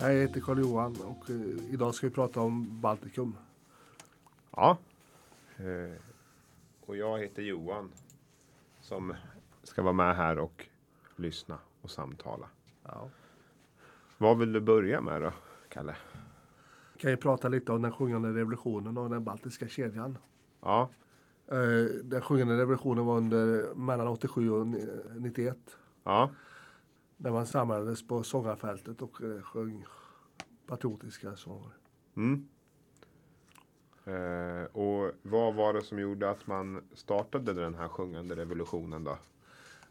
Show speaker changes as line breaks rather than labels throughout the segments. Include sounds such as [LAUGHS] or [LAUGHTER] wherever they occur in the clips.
Hej, jag heter Carl-Johan och eh, idag ska vi prata om Baltikum.
Ja. Eh, Och jag heter Johan som ska vara med här och lyssna och samtala.
Ja.
Vad vill du börja med då, Kalle?
Kan ju prata lite om den sjungande revolutionen och den baltiska kedjan.
Ja,
Eh, Den sjungande revolutionen var under mellan 87 och ni- 91
ja,
när man samlades på sångarfältet och eh, sjöng patriotiska sånger.
mm. Eh, och vad var det som gjorde att man startade den här sjungande revolutionen då?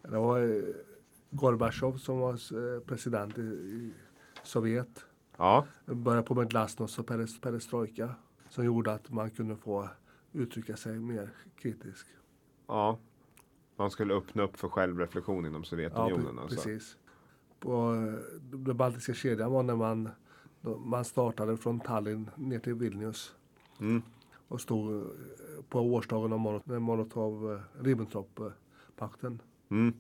Det var eh, Gorbatjov som var eh, president i- i Sovjet.
Ja,
började på med glasnost och peres- perestrojka som gjorde att man kunde få uttrycka sig mer kritiskt.
ja. Man skulle öppna upp för självreflektion inom Sovjetunionen
pre-
alltså.
precis. På eh, den baltiska kedjan var när man, då man startade från Tallinn ner till Vilnius
Mm.
och stod eh, på årsdagen av Mono- när eh, Molotov-Ribbentrop-pakten.
Mm.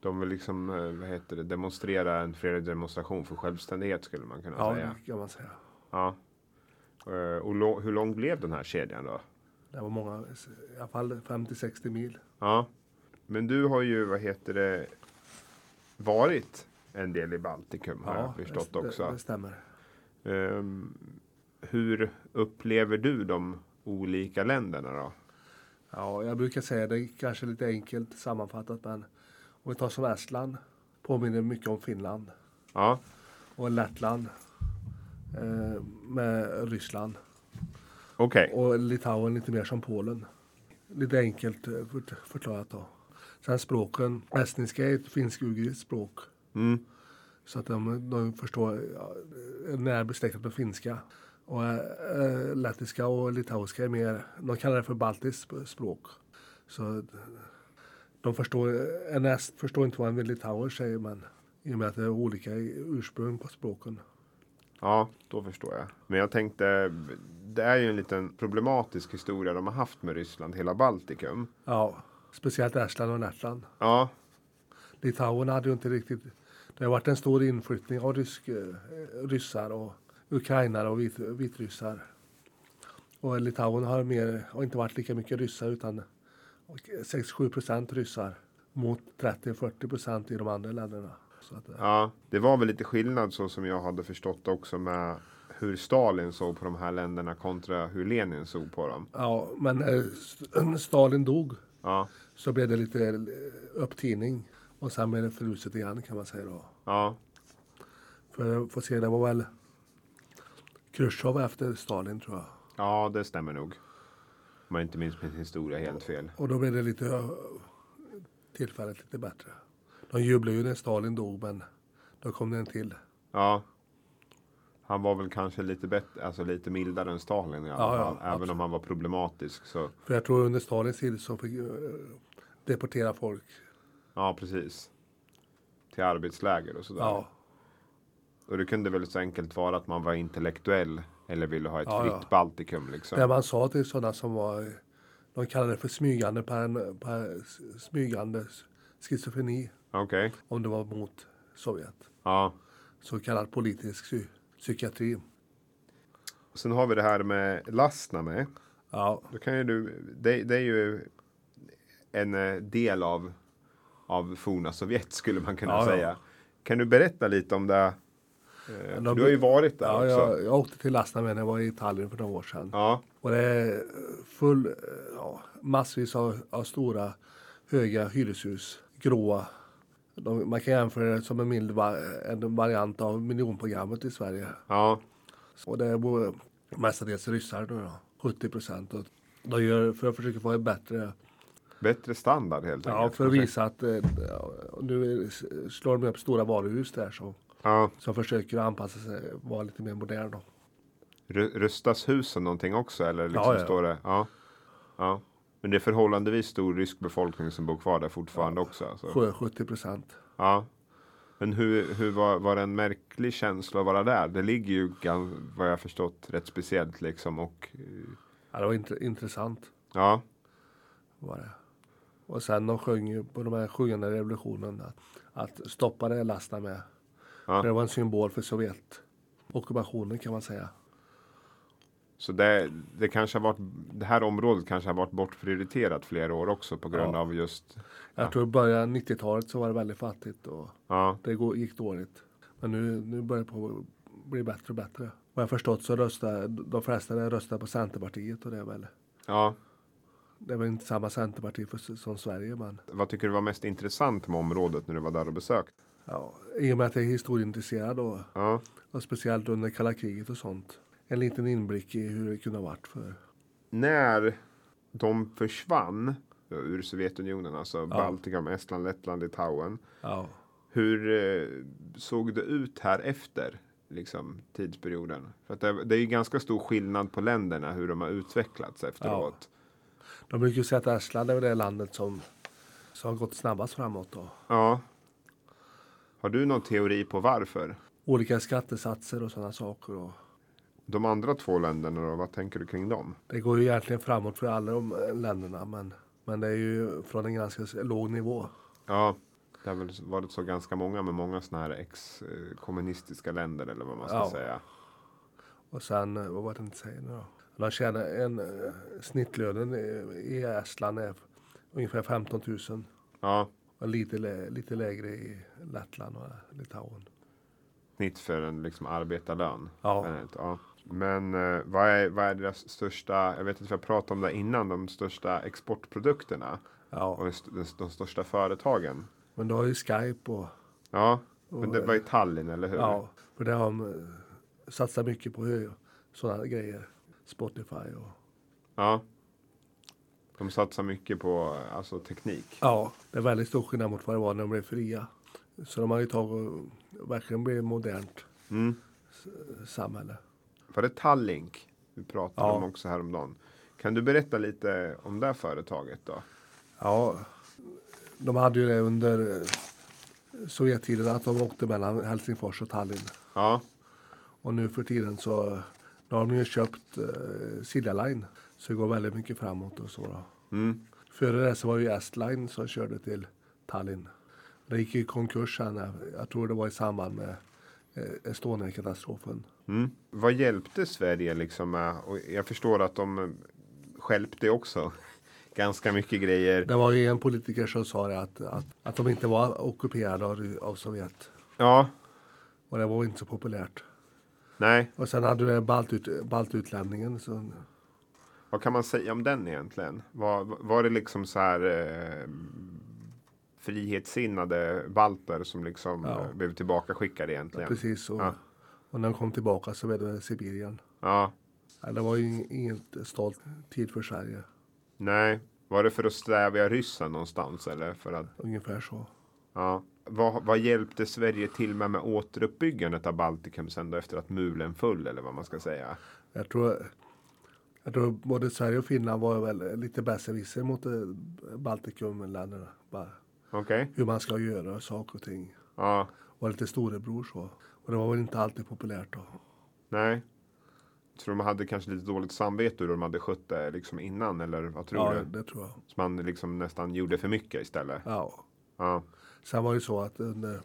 De vill liksom, eh, vad heter det, demonstrera en fredlig demonstration för självständighet skulle man kunna
Ja,
säga.
det kan man säga.
Ja. Eh, Och lo- hur lång blev den här kedjan då?
Det var många, i alla fall 50-60 mil.
Ja. Men du har ju, vad heter det, varit en del i Baltikum har jag förstått
det,
också.
Det, det stämmer.
Ehm, hur upplever du de olika länderna då?
Ja, jag brukar säga det kanske lite enkelt sammanfattat, men om vi tar som Estland påminner mycket om Finland
Ja,
och Lettland eh, med Ryssland
okej.
och Litauen lite mer som Polen. Lite enkelt eh, fort- förklarat då. Sen språken, estniska är ett finsk-ugriskt språk
Mm.
så att de, de förstår ja, är nära besläktat med finska. Och eh, lettiska och litauiska är mer, de kallar det för baltiskt sp- språk. Så eh, de förstår, eh, en est förstår inte vad en litauer säger men i och med att det är olika i ursprung på språken.
Ja, då förstår jag. Men jag tänkte, det är ju en liten problematisk historia de har haft med Ryssland, hela Baltikum.
Ja, speciellt Estland och Lettland.
Ja,
Litauen hade ju inte riktigt... Det har varit en stor inflyttning av rysk, eh, ryssar och ukrainare och vit, vitryssar. Och Litauen har, mer, har inte varit lika mycket ryssar utan 6-7 procent ryssar mot 30-40 procent i de andra länderna. Så att, eh,
ja, det var väl lite skillnad så som jag hade förstått också med hur Stalin såg på de här länderna kontra hur Lenin såg på dem.
ja, men eh, St- [CLEARS THROAT] Stalin dog
Ja,
så blev det lite eh, upptining och sen blev det fruset igen kan man säga då.
ja,
För att få se, det var väl Chrusjtjov efter Stalin tror jag.
ja, det stämmer nog. Om jag inte minns min historia helt fel.
Och då blev det lite eh, tillfället lite bättre. De jublade ju när Stalin dog, men då kom det en till.
Ja. Han var väl kanske lite bättre, alltså lite mildare än Stalin i alla
Ja, ja,
fall. Även
absolut.
om han var problematisk så,
För jag tror under Stalins tid så fick eh, deportera folk.
ja precis. Till arbetsläger och sådär.
Ja,
Och det kunde väl så enkelt vara att man var intellektuell eller ville ha ett
Ja,
fritt
ja.
Baltikum liksom.
där man sa till sådana som var, eh, de kallade det för smygande, paran, par, smygande schizofreni,
Okej,
om det var mot Sovjet.
ja.
Så kallad politisk psy, psykiatri.
Sen har vi det här med lastna med.
Ja,
Då kan ju du, det, det är ju en eh, del av, av forna Sovjet skulle man kunna
Ja, ja.
säga. Kan du berätta lite om det? Eh,
de-
för du har ju varit där
ja
också.
jag, jag åkte till Lasna när jag var i Italien för några år sedan.
Ja,
Och det är full, ja, massvis av, av stora, höga hyreshus. Gråa. De, man kan jämföra det som en mild va, en variant av miljonprogrammet i Sverige.
ja,
Och det bor mestadels ryssar nu då, 70 procent. Och de gör för att försöka få en bättre,
bättre standard helt
ja,
enkelt.
för att visa att eh, ja, nu är- slår de upp stora varuhus där som,
Ja.
som försöker anpassa sig, vara lite mer moderna. då.
Ru- Rustas husen någonting också eller liksom
Ja, ja.
står det? Ja. ja. Men det är förhållandevis stor rysk befolkning som bor kvar där fortfarande också. Alltså.
Sjö- 70 procent.
Ja. Men hur, hur var, var det en märklig känsla att vara där? Det ligger ju gan- vad jag förstått rätt speciellt liksom och eh,
Ja, det var int- intressant.
ja,
var det. Och sen de sjöng ju på de här sjungande revolutionen att, att stoppa det lastna med.
Ja.
Det var en symbol för Sovjet. Ockupationen kan man säga.
Så det, det, kanske har varit, det här området kanske har varit bortprioriterat flera år också på grund
Ja.
av just.
Jag tror i början av 90-talet så var det väldigt fattigt och
Ja,
det gå- gick dåligt. Men nu, nu börjar det på att bli bättre och bättre. Vad jag förstått så röstar de flesta röstar på Centerpartiet och det är väl
ja.
det är väl inte samma Centerparti för, som Sverige men
Vad tycker du var mest intressant med området när du var där och besökte?
ja, i och med att jag är historieintresserad och,
Ja,
och speciellt under kalla kriget och sånt. En liten inblick i hur det kunde ha varit för
när de försvann ur Sovjetunionen, alltså Baltikum, Estland, Lettland, Litauen.
ja.
Hur eh, såg det ut här efter liksom, tidsperioden? För att det, det är ju ganska stor skillnad på länderna hur de har utvecklats efteråt.
De brukar ju säga att Estland är väl det landet som, som har gått snabbast framåt. Då.
Ja. Har du någon teori på varför?
Olika skattesatser och sådana saker. Och
De andra två länderna då, vad tänker du kring dem?
det går ju egentligen framåt för alla de eh, länderna men, men det är ju från en ganska s- låg nivå.
Ja, det har väl varit så ganska många med många sådana här ex-kommunistiska länder eller vad man ska
Ja.
säga.
Och sen, eh, vad var det jag tänkte säga nu då? De tjänar en eh, snittlönen i- i Estland är ungefär 15 000.
Ja,
Och lite, lä- lite lägre i Lettland och Litauen.
snitt för en liksom arbetarlön.
Ja.
generellt, ja. Men eh, vad, är, vad är deras största, jag vet att vi har pratat om det innan, de största exportprodukterna och
Ja,
de, st- de- de största företagen.
men du har ju Skype och
Ja, men det var i Tallinn, eller hur?
Ja, för det har de eh, satsat mycket på eh, sådana grejer. Spotify och...
Ja. De satsar mycket på alltså, teknik.
Ja, det är väldigt stor skillnad mot vad det var när de blev fria. Så de har ju tagit och verkligen blivit ett modernt
Mm.
eh, samhälle.
Var det Tallink vi pratade
Ja.
om också häromdagen? Kan du berätta lite om det här företaget då?
Ja, de hade ju det under eh, Sovjettiden att de åkte mellan Helsingfors och Tallinn.
Ja,
Och nu för tiden så eh, nu har de ju köpt eh, Silja Line. Så det går väldigt mycket framåt och så. Då.
mm.
Före det så var det ju S-Line som körde till Tallinn. Det gick i konkurs sen. eh, Jag tror det var i samband med eh, Estonia-katastrofen.
Mm. Vad hjälpte Sverige liksom med? Och jag förstår att de skälpte också [LAUGHS] ganska mycket grejer.
Det var ju en politiker som sa det att, att, att de inte var ockuperade av, Ry- av Sovjet.
Ja,
Och det var inte så populärt.
nej,
Och sen hade du den baltut, baltutlämningen. Så,
vad kan man säga om den egentligen? Var, var det liksom så här eh, frihetssinnade balter som liksom
Ja.
eh, blev tillbakaskickade egentligen?
precis. Och,
Ja.
och när de kom tillbaka så var det Sibirien.
Ja,
Ja, Det var ju ing- inget stolt tid för Sverige.
nej, var det för att stävja ryssen någonstans eller för att?
Ungefär så.
Ja. Vad, vad hjälpte Sverige till med med återuppbyggandet av Baltikum sen då efter att muren föll eller vad man ska säga?
Jag tror, jag tror både Sverige och Finland var väl lite besserwisser mot eh, Baltikumländerna. Bara
Okej,
hur man ska göra saker och ting.
ja,
Var lite storebror så. Och det var väl inte alltid populärt då.
nej. Tror du de hade kanske lite dåligt samvete hur de hade skött det liksom innan eller vad tror
ja,
du?
det tror jag.
Så man liksom nästan gjorde för mycket istället.
Ja.
Ja,
Sen var det ju så att under,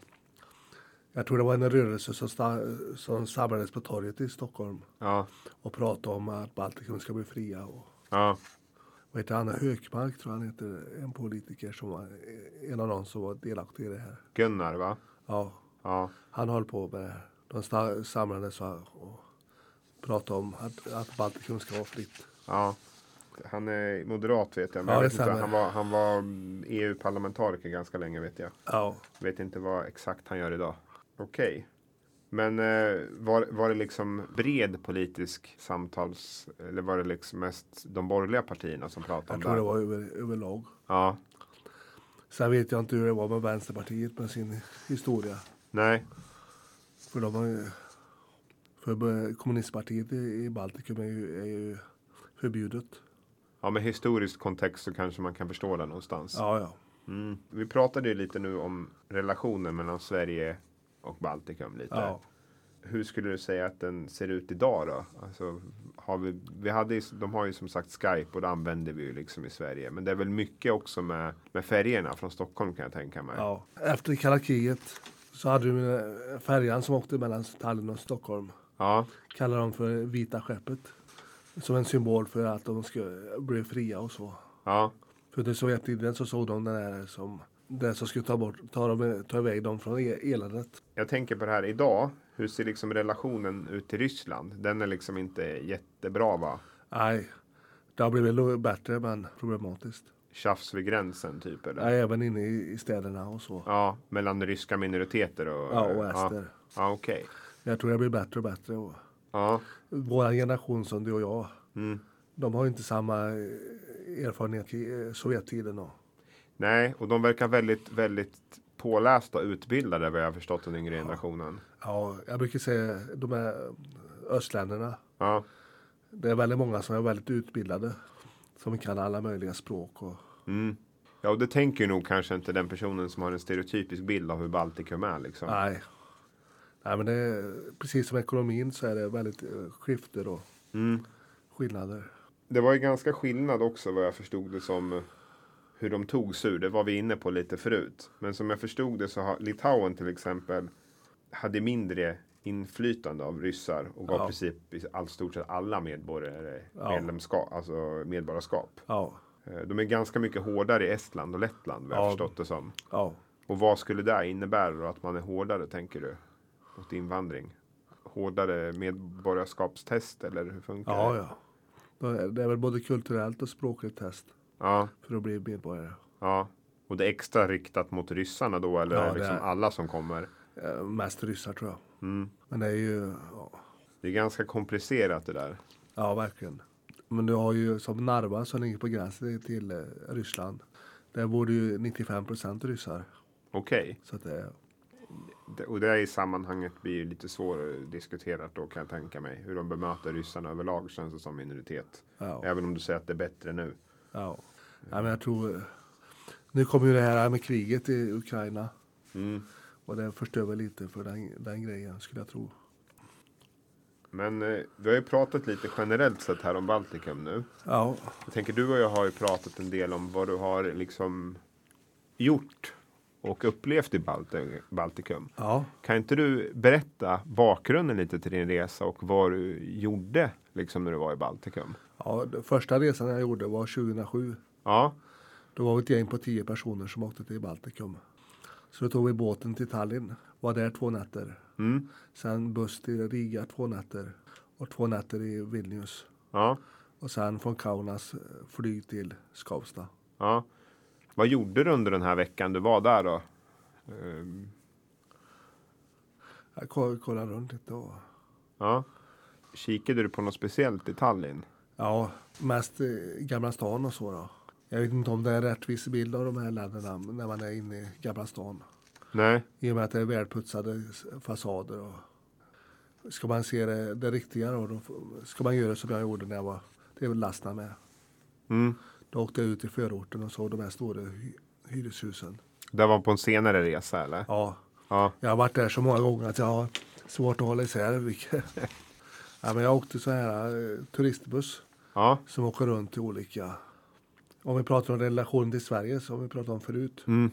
jag tror det var en rörelse som, sta, som samlades på torget i Stockholm
ja,
och pratade om att Baltikum ska bli fria. Och,
ja,
vad heter Anna Hökmark tror jag han heter, en politiker som var eh, en av de som var delaktig i det här.
Gunnar va?
Ja.
Ja,
Han höll på med det här. De sta- samlades och och pratade om att, att Baltikum ska vara fritt.
ja. Han är moderat vet jag, men
Ja,
jag
det
vet inte,
stämmer.
han var, han var mm, EU-parlamentariker ganska länge vet jag.
Ja.
Vet inte vad exakt han gör idag. Okej. Men eh, var, var det liksom bred politisk samtals eller var det liksom mest de borgerliga partierna som pratade
Jag
om
tror det
det?
var över, överlag.
Ja,
Sen vet jag inte hur det var med Vänsterpartiet med sin historia.
nej,
För de har ju, för b- kommunistpartiet i, i Baltikum är ju, är ju förbjudet.
ja, med historisk kontext så kanske man kan förstå det någonstans.
Ja, ja.
Mm. Vi pratade ju lite nu om relationen mellan Sverige och Baltikum lite.
ja.
Hur skulle du säga att den ser ut idag då? Alltså, har vi, vi hade, ju- de har ju som sagt Skype och det använder vi ju liksom i Sverige. Men det är väl mycket också med, med färgerna från Stockholm kan jag tänka mig.
ja. Efter kalla kriget Så hade du den här färjan som åkte mellan Tallinn och Stockholm.
Ja,
Kallar de för Vita skeppet. Som en symbol för att de skulle bli fria och så.
ja,
För under Sovjettiden så såg de den här som den som skulle ta, bort, ta, dem, ta iväg dem från el- eländet.
jag tänker på det här idag. Hur ser liksom relationen ut till Ryssland? Den är liksom inte jättebra va?
Nej, det har blivit lo- bättre men problematiskt.
Tjafs vid gränsen typ eller?
Nej, även inne i, i städerna och så.
Ja, mellan ryska minoriteter och...
Ja, och ester.
Ja, ja okej.
Jag tror det blir bättre och bättre. Och
Ja,
vår generation som du och jag,
mm.
de har ju inte samma eh, erfarenhet i eh, Sovjettiden. Och,
Nej, och de verkar väldigt, väldigt pålästa och utbildade vad jag har förstått den yngre generationen.
ja, jag brukar säga de här östländerna.
Ja,
Det är väldigt många som är väldigt utbildade. Som kan alla möjliga språk. Och,
mm. ja och det tänker ju nog kanske inte den personen som har en stereotypisk bild av hur Baltikum är liksom.
Nej. Nej, men det är, precis som ekonomin så är det väldigt eh, skifter och
Mm.
skillnader.
Det var ju ganska skillnad också vad jag förstod det som eh, hur de togs ur. Det var vi inne på lite förut. Men som jag förstod det så har Litauen till exempel hade mindre inflytande av ryssar och gav
Ja.
i princip i all stort sett alla medborgare
Ja.
medlemskap, alltså medborgarskap.
Ja,
Eh, De är ganska mycket hårdare i Estland och Lettland vad jag
Ja.
förstått det som.
ja.
Och vad skulle det innebära då? Att man är hårdare tänker du? Mot invandring? Hårdare medborgarskapstest eller hur funkar
ja,
det?
ja. Då är- Det är väl både kulturellt och språkligt test
Ja,
för att bli medborgare.
ja. Och det är extra riktat mot ryssarna då eller
Ja,
är det
det
liksom
är-
alla som kommer?
Eh, Mest ryssar tror jag.
Mm.
Men det är ju, ja,
Det är ganska komplicerat det där.
ja verkligen. Men du har ju som Narva som ligger på gränsen till eh, Ryssland. Där bor det ju 95 procent ryssar.
Okej,
Så att det,
Det- och det här i sammanhanget blir ju lite svårdiskuterat då kan jag tänka mig. Hur de bemöter ryssarna överlag känns det som minoritet.
ja.
Även om du säger att det är bättre nu.
Ja. Nej, men jag tror... Nu kommer ju det här med kriget i Ukraina.
Mm.
Och det förstör väl lite för den, den grejen skulle jag tro.
Men eh, vi har ju pratat lite generellt sett här om Baltikum nu.
Ja,
Jag tänker du och jag har ju pratat en del om vad du har liksom gjort och upplevt i Balti- Baltikum.
ja.
Kan inte du berätta bakgrunden lite till din resa och vad du gjorde liksom när du var i Baltikum?
ja den första resan jag gjorde var 2007.
Ja,
Då var vi ett gäng på tio personer som åkte till Baltikum. Så då tog vi båten till Tallinn. Var där två nätter.
mm.
Sen buss till Riga två nätter. Och två nätter i Vilnius.
ja,
Och sen från Kaunas eh, flyg till Skavsta.
ja. Vad gjorde du under den här veckan du var där då? Ehm,
Jag ko- kollade runt lite och
Ja. Kikade du på något speciellt i Tallinn?
Ja, mest eh, Gamla stan och så då. Jag vet inte om det är en rättvis bild av de här länderna när man är inne i Gamla stan.
Nej.
I och med att det är välputsade s- fasader. Och ska man se det, det riktiga då, då f- ska man göra som jag gjorde när jag var det är väl Lastna med.
Mm.
Då åkte jag ut i förorten och såg de här stora hy- hyreshusen.
Det var på en senare resa eller?
Ja,
Ja.
jag har varit där så många gånger att jag har svårt att hålla isär vilket. [LAUGHS] ja, men jag åkte så här eh, turistbuss.
Ja.
som åker runt till olika... Om vi pratar om relationen till Sverige som vi pratade om förut.
Mm.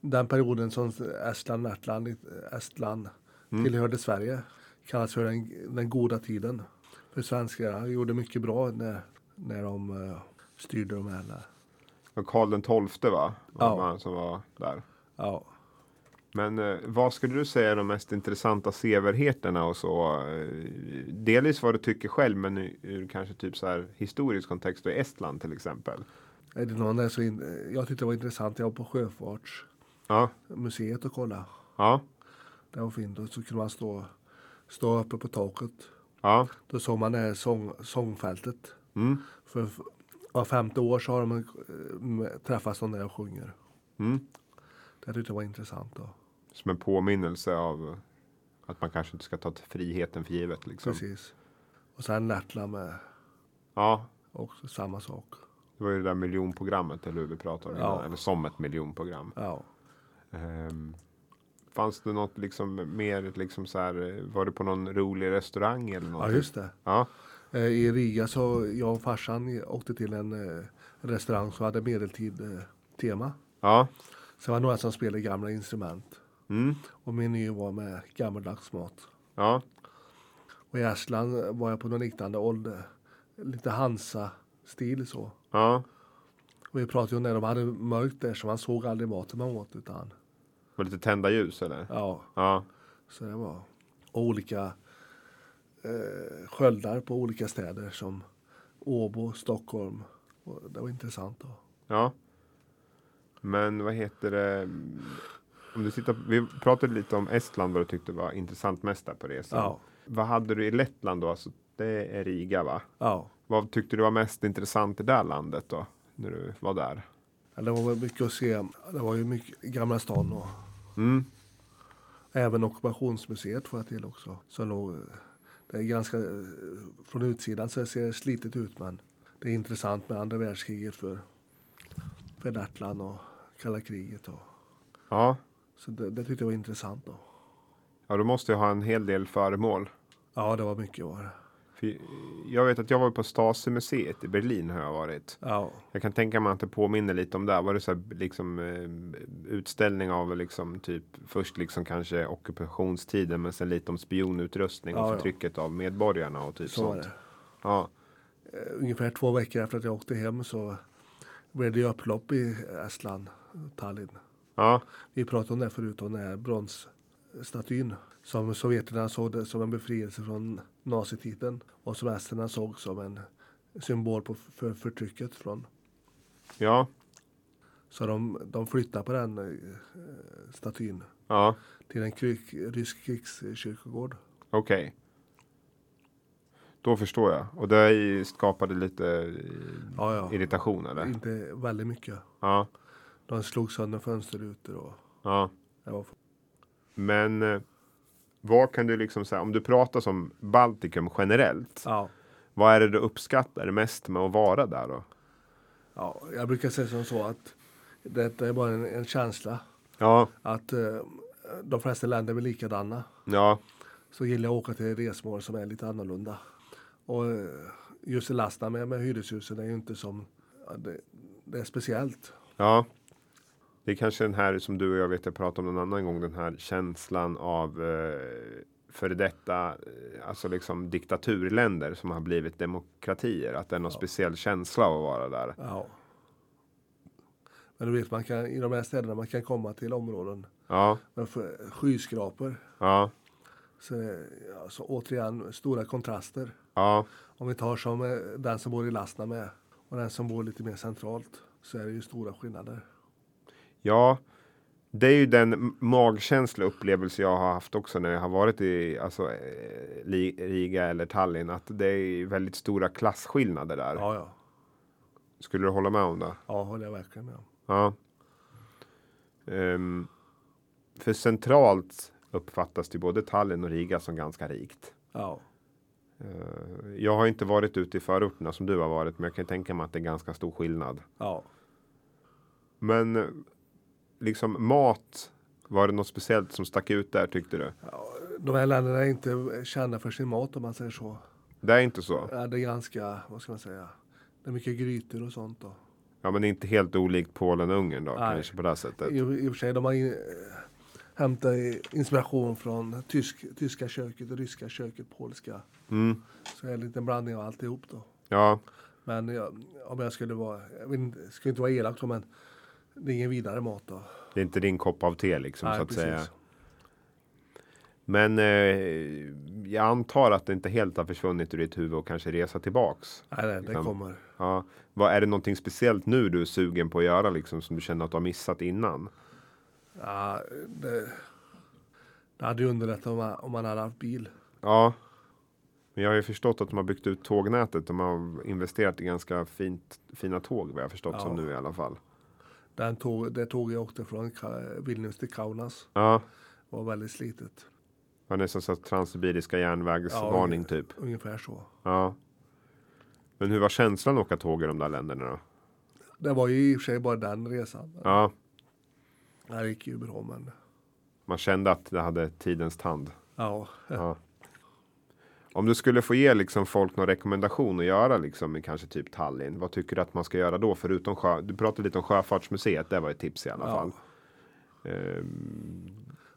Den perioden som Estland, Lettland, Estland tillhörde Sverige kallas för den, den goda tiden. För svenskarna gjorde mycket bra när, när de eh, styrde de här.
Och Karl den tolfte va? Var
Ja.
man som var där.
Ja.
Men eh, vad skulle du säga är de mest intressanta sevärdheterna och så? Eh, delvis vad du tycker själv, men ur, ur kanske typ så här historisk kontext och i Estland till exempel.
Är det någon där så in, jag tyckte det var intressant. Jag var på Sjöfartsmuseet
Ja,
och kollade.
ja,
Det var fint. Och så kunde man stå, stå uppe på taket.
ja,
Då såg man det här sång, sångfältet.
mm,
För f- var femte år så har de eh, träffats de där och sjunger.
mm.
Det tyckte jag var intressant. Då.
Som en påminnelse av att man kanske inte ska ta friheten för givet liksom.
Precis. Och sen Lettland med
Ja,
också samma sak.
det var ju det där miljonprogrammet eller hur vi pratade om
Ja.
innan, eller som ett miljonprogram.
Ja.
Ehm, fanns det något liksom mer liksom så här, eh, var du på någon rolig restaurang eller något?
ja, just det.
Ja,
Eh, I Riga så jag och farsan åkte till en eh, restaurang som hade medeltid eh, tema.
ja,
Sen var det några som spelade gamla instrument.
Mm.
Och menyn var med gammaldags mat.
Ja.
Och i Estland var jag på något liknande ålder. Lite Hansa-stil så.
Ja.
Och vi pratade ju om när de hade mörkt där så man såg aldrig maten man åt utan
Med lite tända ljus eller?
ja,
Ja.
så det var. Och olika eh, sköldar på olika städer som Åbo, Stockholm. Och det var intressant. Då.
Ja. Men vad heter det? Om du tittar, vi pratade lite om Estland vad du tyckte var intressant mest där på resan.
Ja,
Vad hade du i Lettland då? Alltså, det är Riga va?
ja.
Vad tyckte du var mest intressant i det här landet då? När du var där?
Ja, Det var väl mycket att se. Det var ju mycket Gamla stan och
Mm.
även Ockupationsmuseet får jag till också. Som låg, eh, det är ganska, eh, från utsidan så ser det slitet ut men det är intressant med andra världskriget för, för Lettland och kalla kriget. Och,
Ja.
så det, det tyckte jag var intressant. Då.
ja, du måste ju ha en hel del föremål.
Ja, det var mycket var det.
För jag vet att jag var på Stasi-museet i Berlin har jag varit.
Ja,
Jag kan tänka mig att det påminner lite om där. Var det så här, liksom eh, utställning av liksom typ först liksom kanske ockupationstiden, men sen lite om spionutrustning och
Ja, ja.
förtrycket av medborgarna och typ
så var
sånt.
det.
Ja,
Eh, Ungefär två veckor efter att jag åkte hem så blev det ju upplopp i Estland, Tallinn.
ja,
Vi pratade om det förut, om den här bronsstatyn som sovjeterna såg det som en befrielse från nazitiden och som esterna såg som en symbol på, för förtrycket från.
ja,
Så de, de flyttade på den eh, statyn
ja,
till en kryk, rysk krigskyrkogård.
okej. Då förstår jag. Och det i- skapade lite eh,
Ja, ja.
irritation eller?
Inte väldigt mycket.
Ja,
De slog sönder fönsterrutor och
ja.
det var
Men eh, vad kan du liksom säga, om du pratar som Baltikum generellt,
Ja.
vad är det du uppskattar mest med att vara där då?
ja. Jag brukar säga som så att detta är bara en, en känsla.
Ja,
Att eh, de flesta länder är väl likadana.
ja,
Så gillar jag att åka till resmål som är lite annorlunda. Och eh, just i Lastna med, med hyreshusen är ju inte som... ja, Det, det är speciellt.
Ja. Det är kanske den här som du och jag vet jag pratade om någon annan gång. Den här känslan av eh, före detta, eh, alltså liksom diktaturländer som har blivit demokratier. Att det är någon speciell känsla av att vara där.
Ja. Men du vet, man kan, i de här städerna man kan komma till områden
Ja,
med f- skyskrapor.
ja,
Så, eh, ja, så återigen, stora kontraster.
ja,
Om vi tar som eh, den som bor i Lastna med och den som bor lite mer centralt så är det ju stora skillnader.
ja. Det är ju den magkänsla upplevelse jag har haft också när jag har varit i alltså, eh, Li- Riga eller Tallinn. Att det är väldigt stora klasskillnader där.
Ja, ja.
Skulle du hålla med om det?
Ja, håller jag verkligen med om.
Ja. Ehm, för centralt uppfattas det både Tallinn och Riga som ganska rikt.
Ja,
Eh, jag har inte varit ute i förorterna som du har varit, men jag kan tänka mig att det är ganska stor skillnad.
ja.
Men eh, liksom mat, var det något speciellt som stack ut där tyckte du?
Ja, De här länderna är inte kända för sin mat om man säger så.
Det är inte så.
Ja, Det är ganska, vad ska man säga, det är mycket grytor och sånt. Då.
Ja, men det är inte helt olikt Polen och Ungern då,
Nej.
kanske på det här sättet.
I, I och för sig, de har in, eh, hämtat inspiration från tysk, tyska köket, ryska köket, polska.
Mm.
Så det är en liten blandning av alltihop då.
Ja,
Men jag, om jag skulle vara, jag vill inte, skulle inte vara elak då, men det är ingen vidare mat då.
det är inte din kopp av te liksom så att säga.
precis.
Men eh, jag antar att det inte helt har försvunnit ur ditt huvud och kanske resa tillbaks.
Nej, nej, det
Liksom.
kommer.
Ja, vad är det någonting speciellt nu du är sugen på att göra liksom som du känner att du har missat innan?
Ja, det, det hade ju underlättat om man, om man hade haft bil.
Ja, men jag har ju förstått att de har byggt ut tågnätet. De har investerat i ganska fint, fina tåg vad jag har förstått
Ja.
som nu i alla fall.
Den tåg, det tåg jag åkte från Ka- Vilnius till Kaunas
Ja,
var väldigt slitet.
det är nästan så att transsibiriska järnvägsvarning typ.
Ungefär så.
Ja. Men hur var känslan att åka tåg i de där länderna då?
Det var ju i och för sig bara den resan.
Ja,
Det här gick ju bra men
man kände att det hade tidens tand.
ja.
Ja. Om du skulle få ge liksom folk någon rekommendation att göra liksom i kanske typ Tallinn. Vad tycker du att man ska göra då? Förutom sjö, du pratade lite om Sjöfartsmuseet. Det var ett tips i alla
Ja.
fall. Ehm,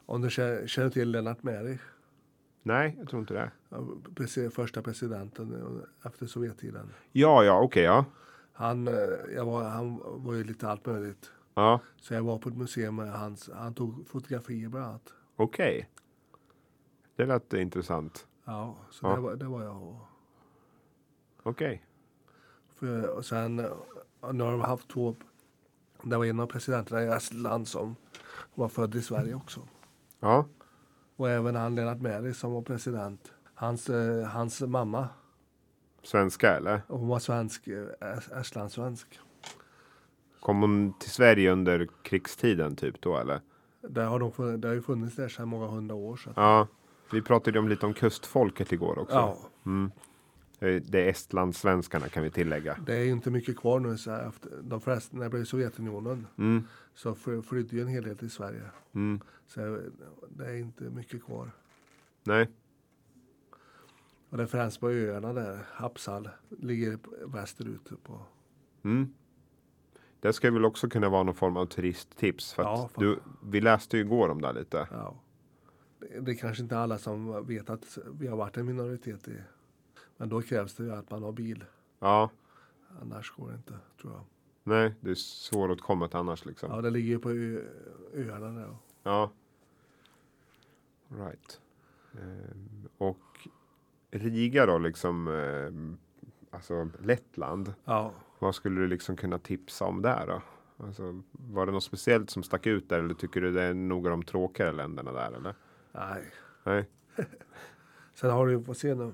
Om du kä- känner till Lennart Meri,
Nej, jag tror inte det.
presi- första presidenten eh, efter Sovjettiden.
Ja, ja, okej, ja.
Han, eh, jag var, han var ju lite allt möjligt.
Ja,
Så jag var på ett museum med hans, han tog fotografier bland annat.
okej. Det lät intressant.
Ja, så
Ja.
Det, var, det var jag. och-
Okej.
För, och sen, eh, nu har de haft två, det var en av presidenterna i Estland som var född i Sverige också.
Ja,
Och även han Lennart Meri som var president. Hans, eh, hans mamma,
svenska eller?
hon var svensk, eh, es- estlandssvensk.
Kom hon till Sverige under krigstiden typ då eller?
Det har, de, funnits- det har ju funnits där sedan många hundra år. Så att,
Ja, vi pratade ju om lite om kustfolket igår också.
ja,
Eh, Det är estlandssvenskarna kan vi tillägga.
det är ju inte mycket kvar nu. Så här, efter, de flesta, när det blev Sovjetunionen
Mm,
så fly- flydde ju en hel del till Sverige.
mm,
Så det är inte mycket kvar.
nej,
Och det är främst på öarna där, Hapsal, ligger p- västerut. På.
mm. Det ska väl också kunna vara någon form av turisttips. För att
Ja, fan.
du, vi läste ju igår om det här lite.
Ja. Det, det är kanske inte alla som vet att vi har varit en minoritet i. Men då krävs det ju att man har bil.
Ja,
Annars går det inte, tror jag.
nej, det är svåråtkommet annars liksom.
Ja, det ligger ju på ö- öarna där.
Ja. Right. Ehm, och Riga då liksom, ehm, alltså Lettland.
Ja.
Vad skulle du liksom kunna tipsa om där då? Alltså, var det något speciellt som stack ut där eller tycker du det är nog av de tråkigare länderna där eller?
Nej.
Nej.
Sen har du, vad ser nu?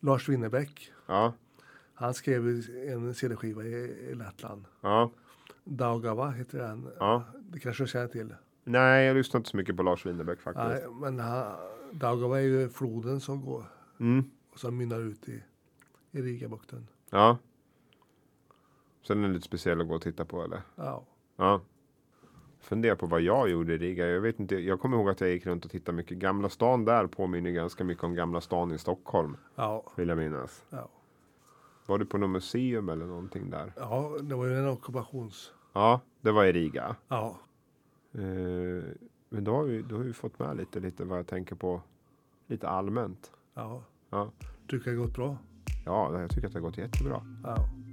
Lars Winnerbäck.
Ja,
Han skrev ju en CD-skiva i, i Lettland.
ja,
Daugava heter den.
ja.
Det kanske du känner till?
Nej, jag lyssnar inte så mycket på Lars Winnerbäck faktiskt.
Nej, men han, Daugava är ju floden som går
Mm,
och som mynnar ut i, i Rigabukten.
ja. Sen är det lite speciell att gå och titta på eller?
Ja.
Ja. Fundera på vad jag gjorde i Riga. Jag vet inte. Jag kommer ihåg att jag gick runt och tittade mycket. Gamla stan där påminner ganska mycket om Gamla stan i Stockholm.
Ja,
Vill jag minnas.
ja.
Var du på något museum eller någonting där?
ja, det var ju en ockupations...
Ja, det var i Riga.
Ja,
Eh, men då har, vi, då har vi fått med lite, lite vad jag tänker på. Lite allmänt.
ja.
Ja.
Tycker det har gått bra.
Ja, jag tycker att det har gått jättebra.
Ja.